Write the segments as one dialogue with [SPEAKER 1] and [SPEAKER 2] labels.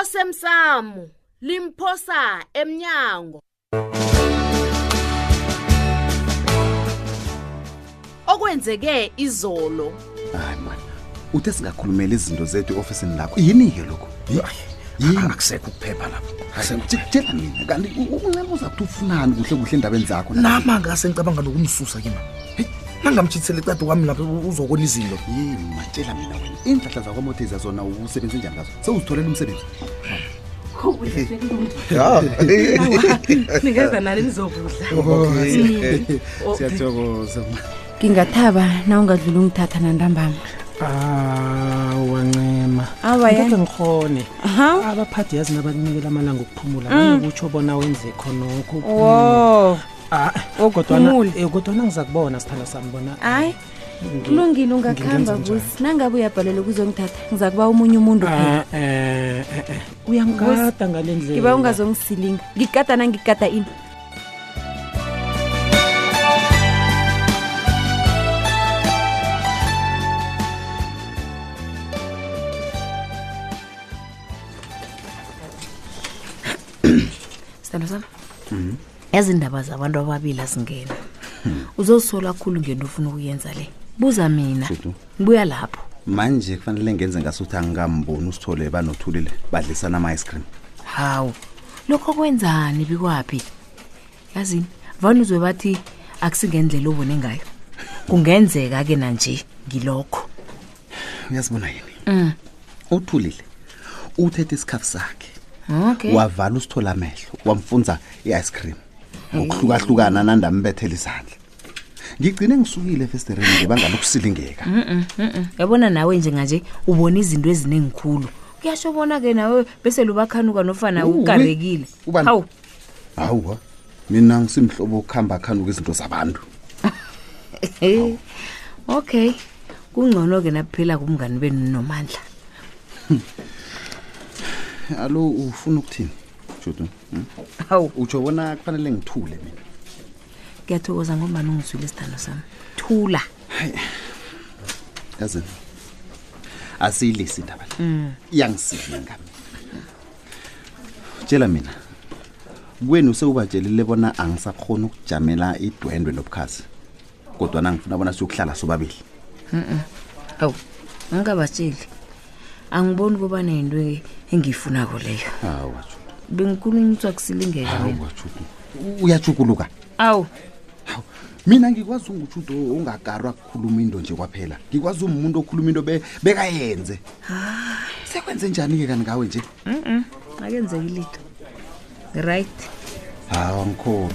[SPEAKER 1] osemsamo limphosa emnyango okwenzeke izolo
[SPEAKER 2] hayi mani uthe singakhulumela izinto zethu eofisini lakho yini-ke lokhu
[SPEAKER 3] akusekho ukuphepha lapho
[SPEAKER 2] tshela mina kanti u- unceba uza kuthi ufunani kuhle kuhle endabeni zakho na?
[SPEAKER 3] nama ngase ngicabanga nokumsusa ke ma Hey, nangamtshithisela icade kwami lapho u- uzobona izinto
[SPEAKER 2] yini matshela mina wena iinhlahla zakwamoteza zona usebenze njani ngazo sewuzitholela umsebenzi
[SPEAKER 4] ningeza nani nizokudla
[SPEAKER 2] siyathokoza
[SPEAKER 5] ngingathaba na ungadlula ungithatha nantambama
[SPEAKER 6] awancema
[SPEAKER 5] Awa, ya.
[SPEAKER 6] ngeke ngikhone
[SPEAKER 5] Aha. Mm.
[SPEAKER 6] abaphathi yazi nabakunikela amalanga okuphumula banokutsho bona wenze khonokho
[SPEAKER 5] wo
[SPEAKER 6] Ah, kodwana-
[SPEAKER 5] uphumule.
[SPEAKER 6] eh, kodwana ngiza kubona sithanda sami bona
[SPEAKER 5] hayi kulungile ungakuhamba busi nangabe uyabhalelwa ukuzongithatha ngiza kuba omunye umuntu phela
[SPEAKER 6] Ah, eh, eh, eh, uyangikada ngale ndlela
[SPEAKER 5] ngiba ungazongisilinga ngikada nangikada ini
[SPEAKER 4] sithando sami yazi indaba zabantu ababili azingena uzosola khulu ngento ofuna ukuyenza le buza mina
[SPEAKER 2] Dudu.
[SPEAKER 4] ngibuya lapho
[SPEAKER 2] manje kufanele ngenze ngasuthi angingamboni usithole banothulile badlisana ama-ice cream
[SPEAKER 4] hawu lokho kwenzani bikwaphi yazini vane uzwe bathi akusingendlela obone ngayo kungenzeka-ke nanje ngilokho
[SPEAKER 2] uyazibona yini
[SPEAKER 4] Mm.
[SPEAKER 2] uthulile uthethe isikhafu sakhe
[SPEAKER 4] okay
[SPEAKER 2] wavala usithola amehlo wamfunza i-ice cream
[SPEAKER 4] Hmm.
[SPEAKER 2] ngokuhlukahlukana nandambethela izandla ngigcine ngisukile efestereni ngebanga lokusilingeka
[SPEAKER 4] Hmm, yabona nawe njenganje ubona izinto eziningikhulu kuyasho bona-ke nawe bese lubakhanuka nofana
[SPEAKER 2] Uwe.
[SPEAKER 4] ukarekile
[SPEAKER 2] Ubani?
[SPEAKER 4] hawu
[SPEAKER 2] hawa mina ngisimhlobo okuhamba akhanuka izinto zabantu
[SPEAKER 4] Eh, okay kungcono-ke naphela kumngani benu nomandla
[SPEAKER 2] alo ufuna ukuthini judu Hmm?
[SPEAKER 4] hawu
[SPEAKER 2] utsho bona kufanele ngithule mina
[SPEAKER 4] ngiyathokoza ngombani ungizwile isithando sami thula
[SPEAKER 2] yazini asiyilisi indaba le iyangisinga tshela mina kwenu sewubatshelile bona angisakhona ukujamela idwendwe nobukhazi kodwa nangifuna bona siyokuhlala sobabili
[SPEAKER 4] hawu angingabatsheli angiboni kuba nento engiyifunako leyo
[SPEAKER 2] hawa
[SPEAKER 4] bengikhulunyiswa kusilingeka mina
[SPEAKER 2] judu uyajuguluka
[SPEAKER 4] awu
[SPEAKER 2] hawu mina ngikwazi ungutshudo ongakarwa kukhuluma into nje kwaphela ngikwazi umuntu okhuluma into be- bekayenze sekwenze njani-ke kani ngawe nje
[SPEAKER 4] mm akenzeki lito right
[SPEAKER 2] hawu angikholwa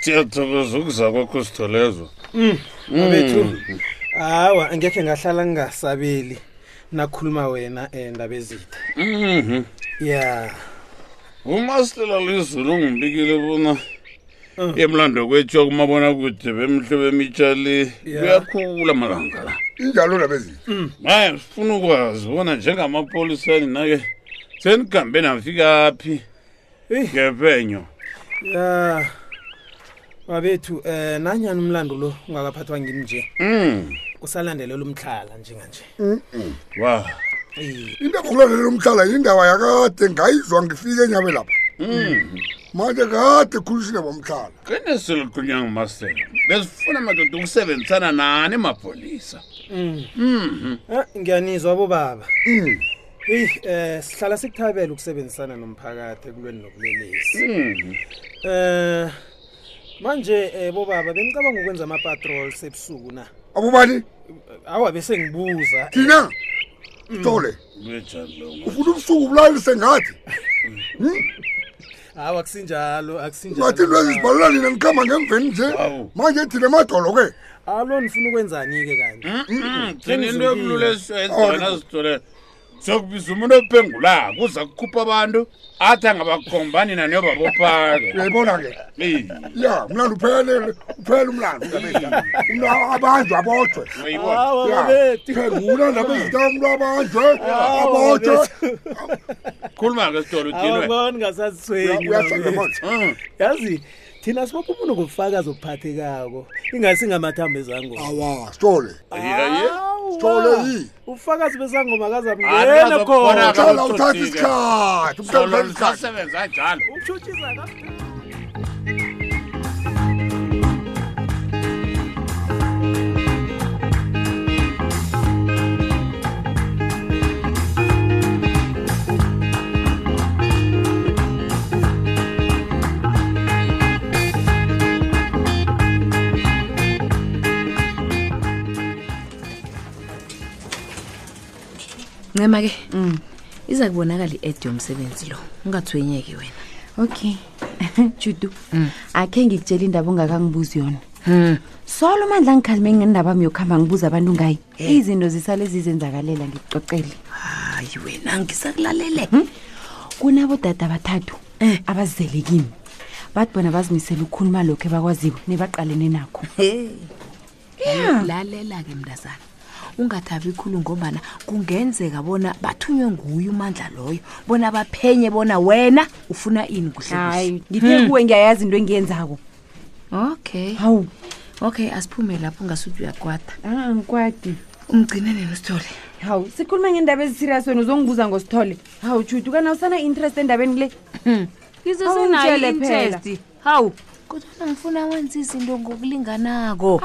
[SPEAKER 7] siyathokoza ukuza kwakho sitholezwa
[SPEAKER 8] abethu hawa ngekhe ngahlala ngingasabeli nakhuluma wena endaba ezithe ya
[SPEAKER 7] umastela lizulu ungibikile bona emlando kwetshiwa kumabonakude bemhle bemitsha le kuyakhula malanga la
[SPEAKER 9] injalo nabezitha
[SPEAKER 7] hayi sifuna ukwazi bona njengamapolisani nake senigambe nafika phi
[SPEAKER 8] Eh.
[SPEAKER 7] ngephenyo
[SPEAKER 8] ya babethu eh nanyani umlando lo ungakaphathwa ngimi nje
[SPEAKER 7] Mm,
[SPEAKER 8] usalandelela umtlhala njenganje
[SPEAKER 7] wa
[SPEAKER 9] into ekhulalelo umhlala yindaba yakade ngayizwa ngifike enyabe lapha manje kade khulisile bomhlala
[SPEAKER 7] qiniselikhunywa ngumastela besifuna madoda ukusebenzisana nani mapolisa
[SPEAKER 8] Ah, ngiyanizwa bobaba eyi um sihlala sikuthabela ukusebenzisana nomphakathi ekulweni nobulelesi
[SPEAKER 7] Mm,
[SPEAKER 8] um manje um bobaba bengicabanga ukwenza ama-patrols ebusuku na
[SPEAKER 9] abobani
[SPEAKER 8] awa bese ngibuza eh,
[SPEAKER 9] thina tole
[SPEAKER 7] kunjani lo
[SPEAKER 9] ufuna ubusuku bulalise ngathi
[SPEAKER 8] hawa akusinjalo akusinjalo
[SPEAKER 9] ngathi into ezizibalela nina nikhamba ngemveni nje
[SPEAKER 7] Hawu.
[SPEAKER 9] manje thina madolo-ke
[SPEAKER 8] alo nifuna ukwenzani-ke kanti
[SPEAKER 7] thina into emlulesiyenzanazitholela sokubiza umuntu opengulako uza kukhupha abantu athi angabakhombani naniyobabopake
[SPEAKER 9] uyayibona-ke ya mlando uphelele uphele umlando ndabezitha abanjwe abotshwe
[SPEAKER 8] hawa
[SPEAKER 9] Ya,
[SPEAKER 8] babethu
[SPEAKER 9] phengula ndabezitha umntu abanjwe abotshwe
[SPEAKER 7] khuluma-ke sitolo utilwe
[SPEAKER 8] awuboni ngasazithweni
[SPEAKER 9] uyahlanga
[SPEAKER 8] babe.
[SPEAKER 9] manje
[SPEAKER 7] Mm.
[SPEAKER 8] yazi thina sibopha umuntu ngobufakazi obuphathekako ingasi ngamathambo ezangoma
[SPEAKER 9] awa sitole
[SPEAKER 7] Ayiye.
[SPEAKER 9] Sithole yi.
[SPEAKER 8] ubufakazi bezangoma
[SPEAKER 7] Akazi
[SPEAKER 8] akazamngena
[SPEAKER 7] ukubona
[SPEAKER 9] hlala
[SPEAKER 8] khona
[SPEAKER 7] Sitjholo
[SPEAKER 9] uthatha
[SPEAKER 7] uthi-ke.
[SPEAKER 9] isikhathi
[SPEAKER 7] solo
[SPEAKER 9] uthatha isikhathi
[SPEAKER 7] lisasebenza njalo
[SPEAKER 8] ukutshutshisa ka-
[SPEAKER 4] ncema-ke iza kubonakala i-ed yomsebenzi lo ungathwenyeki wena
[SPEAKER 5] okay judu
[SPEAKER 4] Mm.
[SPEAKER 5] akhe ngikutshela indaba ongakangibuzi yona solo mandla angikhalime ngendaba yami yokuhamba ngibuza abantu ngayo
[SPEAKER 4] Eh.
[SPEAKER 5] izinto zisale zizenzakalela ngikucocele
[SPEAKER 4] hayi wena ngisakulalele
[SPEAKER 5] kunabodada abathathu
[SPEAKER 4] Eh.
[SPEAKER 5] abazele kimi bathi bona bazimisele ukukhuluma lokhu ebakwaziwo nebaqalene nakho
[SPEAKER 4] Hmm. lalela-ke mntazana ungathabi khulu ngombana kungenzeka bona bathunywe nguye umandla loyo bona baphenye bona wena ufuna ini kuhle kuhle
[SPEAKER 5] hayi ngithe kuwe ngiyayazi into engiyenzako
[SPEAKER 4] okay
[SPEAKER 5] hawu
[SPEAKER 4] okay asiphume lapho ngasuthi uyakwada
[SPEAKER 5] angikwadi
[SPEAKER 4] umgcine nini usithole
[SPEAKER 5] hawu sikhuluma ngendaba ezisirias wena uzongibuza ngosithole hawu judu kana usana-interest endabeni le Awungitjele phela.
[SPEAKER 4] hawu kodwana ngifuna wenza izinto ngokulinganako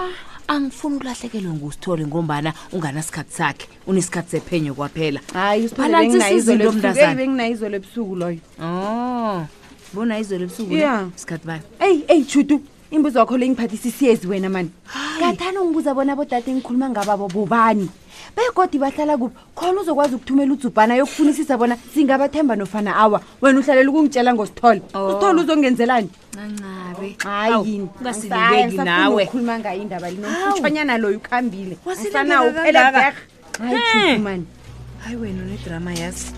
[SPEAKER 4] angifuni ulahlekelwe ngusithole ngombana unganasikhathi sakhe unesikhathi sephenyo kwaphela
[SPEAKER 5] hayi usithole
[SPEAKER 4] Balansisa
[SPEAKER 5] benginayo izolo
[SPEAKER 4] izinto,
[SPEAKER 5] ebusuku.
[SPEAKER 4] mntazana.
[SPEAKER 5] Eyi, benginayo izolo ebusuku loyo
[SPEAKER 4] oh bona izolo ebusuku le?
[SPEAKER 5] Yeah.
[SPEAKER 4] sikhathi bani
[SPEAKER 5] eyi eyi judu imbuzo wakho le ngiphathisisiyezi wena mani kathani ungibuza bona bodade engikhuluma ngababo bobani begodi bahlala kuphi khona uzokwazi ukuthumela ujubhana yokufunisisa bona singabathemba nofana awa wena uhlalela ukungitshela ngosithole
[SPEAKER 4] Oh.
[SPEAKER 5] usithole uzongenzelani
[SPEAKER 4] nancabe
[SPEAKER 5] hayi yini
[SPEAKER 4] ungasiluleki nawe
[SPEAKER 5] ukhuluma ngayo indaba linomfutshwanyana loyo ukhambile
[SPEAKER 4] Wasiluleka
[SPEAKER 5] Asanawo, uphela
[SPEAKER 4] kangaka?
[SPEAKER 5] vekh. hayi Judu, mani
[SPEAKER 4] hayi wena unedrama yazi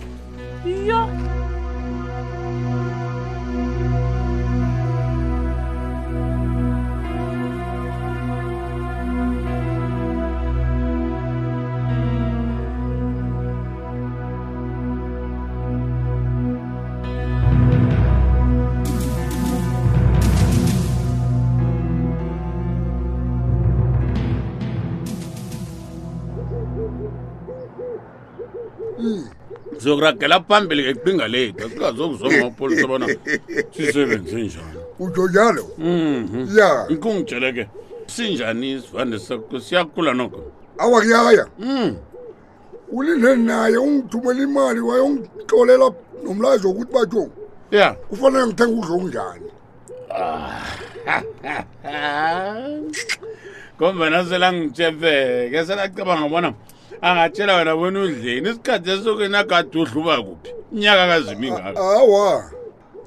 [SPEAKER 7] sizokuragela phambili ngeqhinga lethu asingazokuzoma amapolisa bona sisebenze njani
[SPEAKER 9] utsho njalo
[SPEAKER 7] Mhm.
[SPEAKER 9] ya
[SPEAKER 7] ikungitshele ke sinjani isivande sakho siyakhula noko
[SPEAKER 9] awa kuyaya
[SPEAKER 7] Mm.
[SPEAKER 9] ulinde naye ungithumela imali wayongihlolela nomlayezo wokuthi batho
[SPEAKER 7] ya
[SPEAKER 9] kufanele ngithenga udlo onjani
[SPEAKER 7] Ah. ngombana selangitshefeke selacabanga bona angatshela wena wena udleni isikhathi esokeni agade udluba kuphi unyaka kazimi ngako
[SPEAKER 9] awa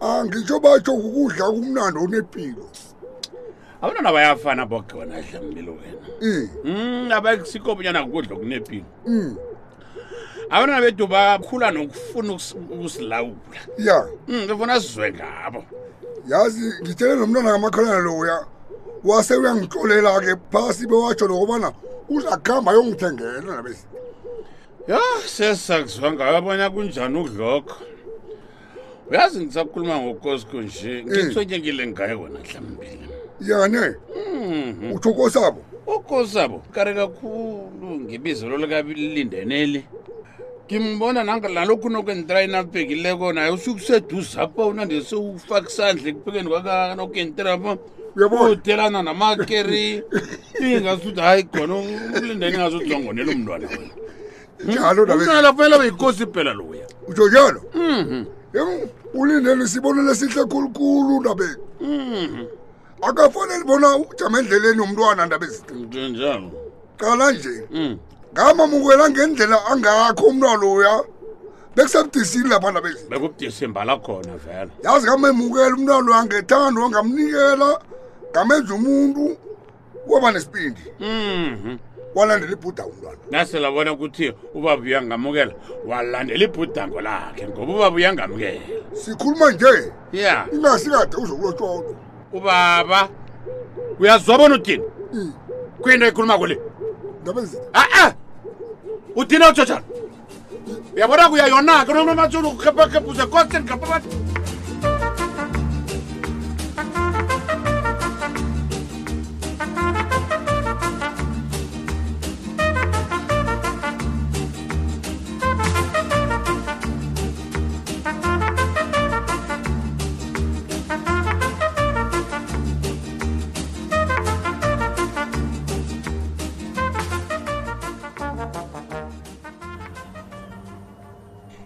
[SPEAKER 9] angitsho batsho kukudla kumnandi onepilo
[SPEAKER 7] abantwana bayafana boke wena dlambile wena
[SPEAKER 9] um
[SPEAKER 7] Mm, abasikho bunyana kudla kunepilo
[SPEAKER 9] um
[SPEAKER 7] abantwana bethu bakhula nokufuna ukusi- ukusilawula
[SPEAKER 9] ya
[SPEAKER 7] Mm, befuna sizwe ngabo
[SPEAKER 9] yazi ngitshele nomntwana kamakhalana loya wase uyangihlolela-ke phasi bewatsho nokubana uzakuhamba ayongithengela nabesi
[SPEAKER 7] ya sesakuzwa ngayo abona kunjani ukudlokho uyazi ngisakhuluma ngokosikho nje ngithonyekile ngayo wona mhlambili
[SPEAKER 9] yane utsho kosabo
[SPEAKER 7] ukosabo kare kakhulu ngebizelo likabilindeneli ngimbona nanga- nalokhu nokentrayini abhekileko naye usukuseduzapha unandese ufaka isandla ekuphekeni kwakanokentrapa
[SPEAKER 9] Uyabona?
[SPEAKER 7] udelana namakeri ingasuthi hayi khona ulindeni ingazuzongonela umntwana wena
[SPEAKER 9] njalo
[SPEAKER 7] umntwana
[SPEAKER 9] nabesi
[SPEAKER 7] lafanele beyikosi phela loya
[SPEAKER 9] utsho njalo
[SPEAKER 7] Mhm,
[SPEAKER 9] Em, ulindeni sibonele sihle khulukhulu ndabeni
[SPEAKER 7] mhm,
[SPEAKER 9] akafanele bona ujama endleleni umntwana ndabesi
[SPEAKER 7] njalo Mhm.
[SPEAKER 9] qala nje ngamamukela ngendlela angakho umntwana loya bekusebudisini lapha ndabesi
[SPEAKER 7] bekubudisimba lakhona vela
[SPEAKER 9] yazi ngamemukela umntwana loya ngethando ngamnikela ngamenza umuntu waba nesibindi
[SPEAKER 7] Mhm,
[SPEAKER 9] walandela ibhuda umntwana
[SPEAKER 7] nasela bona ukuthi ubaba uyangamukela walandela ibhudango lakhe ngoba ubaba uyangamukela
[SPEAKER 9] sikhuluma nje
[SPEAKER 7] ya
[SPEAKER 9] ingasikade uzokulotsholo
[SPEAKER 7] ubaba uyazwa bona uthini kwinto ekhuluma kule
[SPEAKER 9] ndabezi
[SPEAKER 7] a-a uthini otshotshana uyabona kuyayonaka nomatsholo ukhephakhephuze constant ngapha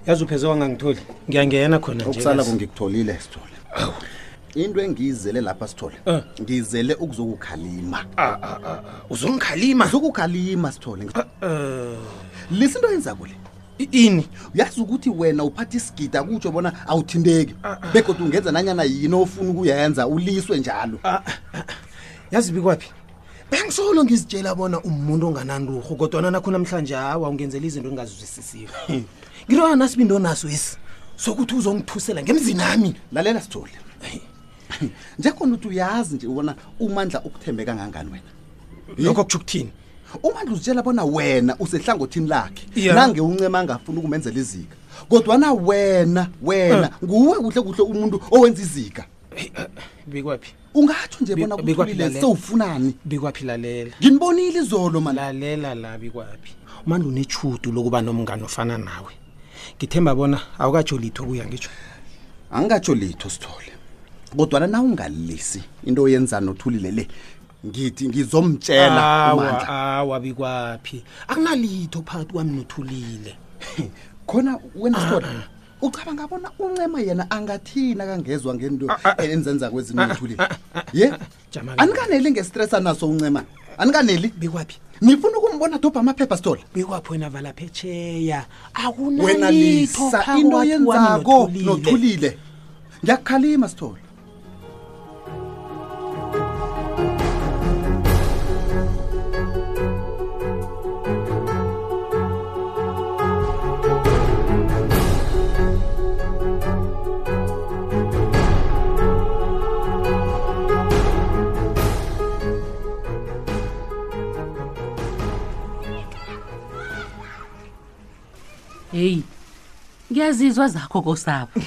[SPEAKER 6] yazi upheze wangangitholi ngiyangena khona nje
[SPEAKER 2] okusala
[SPEAKER 6] basi.
[SPEAKER 2] kungikutholile sithole into engiyizele lapha sithole
[SPEAKER 6] Eh. Ah.
[SPEAKER 2] ngizele ukuzokukhalima
[SPEAKER 6] uzongikhalima
[SPEAKER 2] zokukhalima sithole
[SPEAKER 6] Eh,
[SPEAKER 2] lisa into yenza kule
[SPEAKER 6] i- ini
[SPEAKER 2] uyazi ukuthi wena uphatha isigida kutsho bona awuthindeki
[SPEAKER 6] Ah,
[SPEAKER 2] begodwa ungenza nanyana yini ofuna ukuyenza uliswe njalo
[SPEAKER 6] Ah. yazi bikwaphi bengisolo ngizitshela bona umuntu ongananturhu kodwana nakho namhlanje hawa ungenzela izinto engingazizwisisiwe ngiroya nasibindo naso esi sokuthi uzongithusela ngemzini ami
[SPEAKER 2] lalela sithole njekhona ukuthi uyazi nje ubona umandla ukuthembe kangangani wena
[SPEAKER 6] lokho kutsho ukuthini
[SPEAKER 2] umandla uzitshela bona wena usehlangothini lakhe
[SPEAKER 6] Yeah.
[SPEAKER 2] nange uncema angafuni ukumenzela izika kodwana wena wena nguwe kuhle kuhle umuntu owenza izika
[SPEAKER 6] bikwaphi
[SPEAKER 2] ungatsho nje
[SPEAKER 6] Bi-
[SPEAKER 2] bona
[SPEAKER 6] bikwaphi
[SPEAKER 2] kuthulile
[SPEAKER 6] lalela?
[SPEAKER 2] sewufunani
[SPEAKER 6] bikwaphi lalela
[SPEAKER 2] nginibonile izolo mani
[SPEAKER 6] lalela la bikwaphi umanda unechudu lokuba nomngane ofana nawe ngithemba bona awukatsho litho kuya ngitsho
[SPEAKER 2] angikatsho litho sithole kodwana na ungalisi into oyenza nothulile le ngithi ngizomtshela umandla
[SPEAKER 6] awa bikwaphi akunalitho phakathi kwami nothulile
[SPEAKER 2] khona wena sithole ucabanga bona uncema yena angathina kangezwa ngento enzenza kwezinothuliwe ye
[SPEAKER 6] Jama ke.
[SPEAKER 2] anikaneli ngestress anaso uncema anikaneli
[SPEAKER 6] bikwaphi
[SPEAKER 2] nifuna ukumbona dobha amaphepha sithole
[SPEAKER 6] bikwaphi wena vala phetsheya
[SPEAKER 2] wena
[SPEAKER 6] akunalitho
[SPEAKER 2] lisa
[SPEAKER 6] phakathi
[SPEAKER 2] into
[SPEAKER 6] kwami
[SPEAKER 2] yenzako
[SPEAKER 6] nothulile
[SPEAKER 2] nothulile ngiyakukhalima sithole
[SPEAKER 10] heyi ngiyazizwa zakho kosapho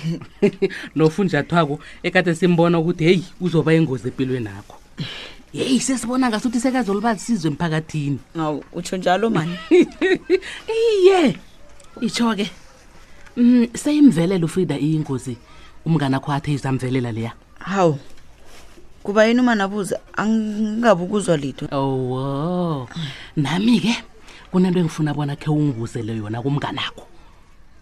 [SPEAKER 10] lo funjathwako ekade simbona ukuthi heyi uzoba ingozi empilweni akho heyi sesibona ngasuthi sekazoluba sizwe emphakathini
[SPEAKER 11] awu utsho njalo mani
[SPEAKER 10] iye itsho-ke um seyimvelela ufrida iyingozi umngane akho athe izamvelela leya
[SPEAKER 11] hawu kuba yini umanabuza angingabi ukuzwa litho
[SPEAKER 10] owo nami-ke kunento engifuna bona khe ungibuzele yona kumngane akho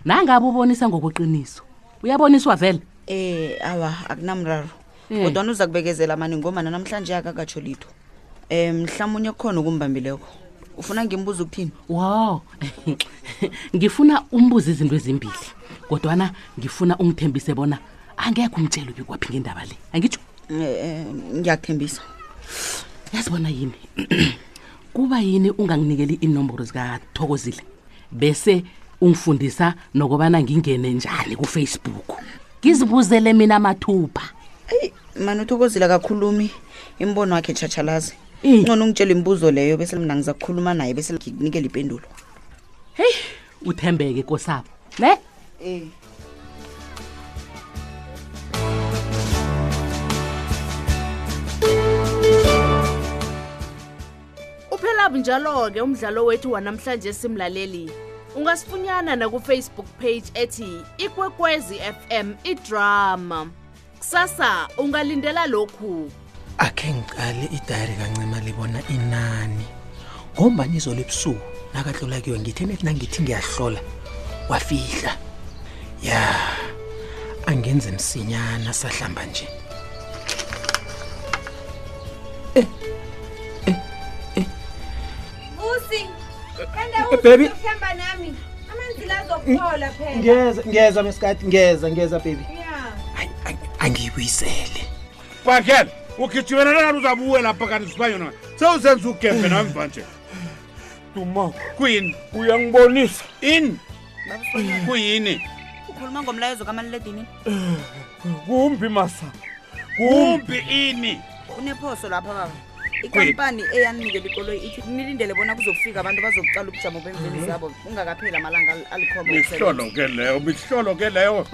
[SPEAKER 10] nangabe ubonisa ngokweqiniso uyaboniswa vele
[SPEAKER 11] eh awa akunamraro
[SPEAKER 10] Eh.
[SPEAKER 11] kodwana uza kubekezela mani ngomana namhlanje akakatsho litho um mhlawumunye kukhona okumbambileko ufuna ngimbuza ukuthini
[SPEAKER 10] wow ngifuna umbuze izinto ezimbili kodwana ngifuna ungithembise bona angekho umtshelo bekwaphi ngendaba le angitsho
[SPEAKER 11] Eh, eh, ngiyakuthembisa
[SPEAKER 10] yazibona yini kuba yini unganginikeli inomboro zikathokozile bese ungifundisa nokubana ngingene njani kufacebook ngizibuzele mina mathupha
[SPEAKER 11] eyi mani uthokozile kakhulumi imbono wakhe tshatshalazi
[SPEAKER 10] Eh.
[SPEAKER 11] ngcono ungitshela imbuzo leyo bese mina ngiza kukhuluma naye bese ngikunikela ipendulo
[SPEAKER 10] heyi uthembeke kosapho ne
[SPEAKER 11] um
[SPEAKER 1] Uphela bunjalo-ke umdlalo wethu wanamhlanje simlaleli. Ungasifunyana nakufacebook page ethi Ikwekwezi FM iDrama. Kusasa ungalindela lokhu.
[SPEAKER 6] akhe ngiqale idayari kancema libona inani ngombani izolo ebusuku nakahlola kuyo ngithe nethi nangithi ngiyahlola wafihla ya angenze msinyana sahlamba nje
[SPEAKER 5] busi
[SPEAKER 6] Eh, baby. Eh,
[SPEAKER 5] kandaohlamba nami amanzi lazokuphola phela
[SPEAKER 6] ngeza ngeza mesikati ngeza ngeza bebi angiyibuyisele
[SPEAKER 7] bhakela ugijimela lana uzabuwe lapha kanti siba yona sewusenza ugembe nami mvanje duma kuyini uyangibonisa ini kuyini
[SPEAKER 11] ukhuluma ngomlayezo kamaliledinini
[SPEAKER 7] kumbi masa kumbi ini
[SPEAKER 11] unephoso lapha baba ikampani eyanikela ikoloyi ithi nilindele bona kuzokufika abantu bazokucala ubujamo bemveli
[SPEAKER 7] Mhm.
[SPEAKER 11] zabo ungakapheli amalanga ali- alikhomba
[SPEAKER 7] mihlolo
[SPEAKER 11] umsebenzi.
[SPEAKER 7] ke leyo mihlolo ke leyo